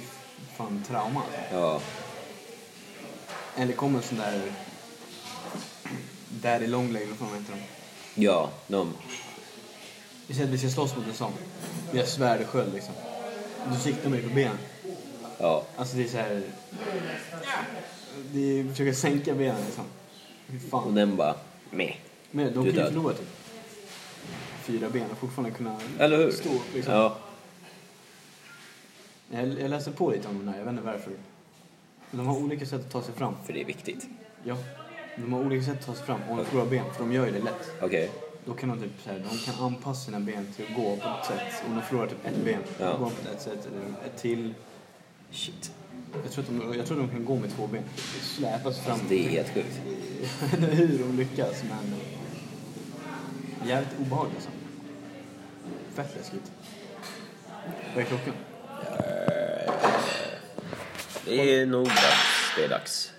[SPEAKER 1] fan trauma.
[SPEAKER 2] Ja.
[SPEAKER 1] Eller kommer en sån där... Daddy Longleg, vad fan heter de?
[SPEAKER 2] Ja, de.
[SPEAKER 1] Vi säger att vi ska slåss mot en sån. Vi har svärd och sköld liksom. Då siktar man ju på benen.
[SPEAKER 2] Ja.
[SPEAKER 1] Alltså det är så här... Det är, försöka sänka benen liksom. Fy
[SPEAKER 2] Och
[SPEAKER 1] fan.
[SPEAKER 2] den bara, meh.
[SPEAKER 1] Men de
[SPEAKER 2] Du är
[SPEAKER 1] kan ju
[SPEAKER 2] död.
[SPEAKER 1] förlora typ fyra ben och fortfarande kunna
[SPEAKER 2] Eller hur?
[SPEAKER 1] stå upp liksom.
[SPEAKER 2] Ja.
[SPEAKER 1] Jag, jag läste på lite om de där, jag vet inte varför. Men de har olika sätt att ta sig fram.
[SPEAKER 2] För det är viktigt.
[SPEAKER 1] Ja. De har olika sätt att ta sig fram och de förlorar ben, för de gör ju det lätt.
[SPEAKER 2] Okej.
[SPEAKER 1] Då kan de typ så här, de kan anpassa sina ben till att gå på ett sätt. Om de förlorar typ ett ben,
[SPEAKER 2] Ja.
[SPEAKER 1] då går de på ett sätt eller ett till.
[SPEAKER 2] Shit.
[SPEAKER 1] Jag tror, att de, jag tror att de kan gå med två ben. Släpas fram. <laughs>
[SPEAKER 2] Det är helt sjukt.
[SPEAKER 1] Jag vet inte hur de lyckas, men... Jävligt obehagligt alltså. Fett läskigt. Vad är klockan?
[SPEAKER 2] Det är nog dags. Det är dags.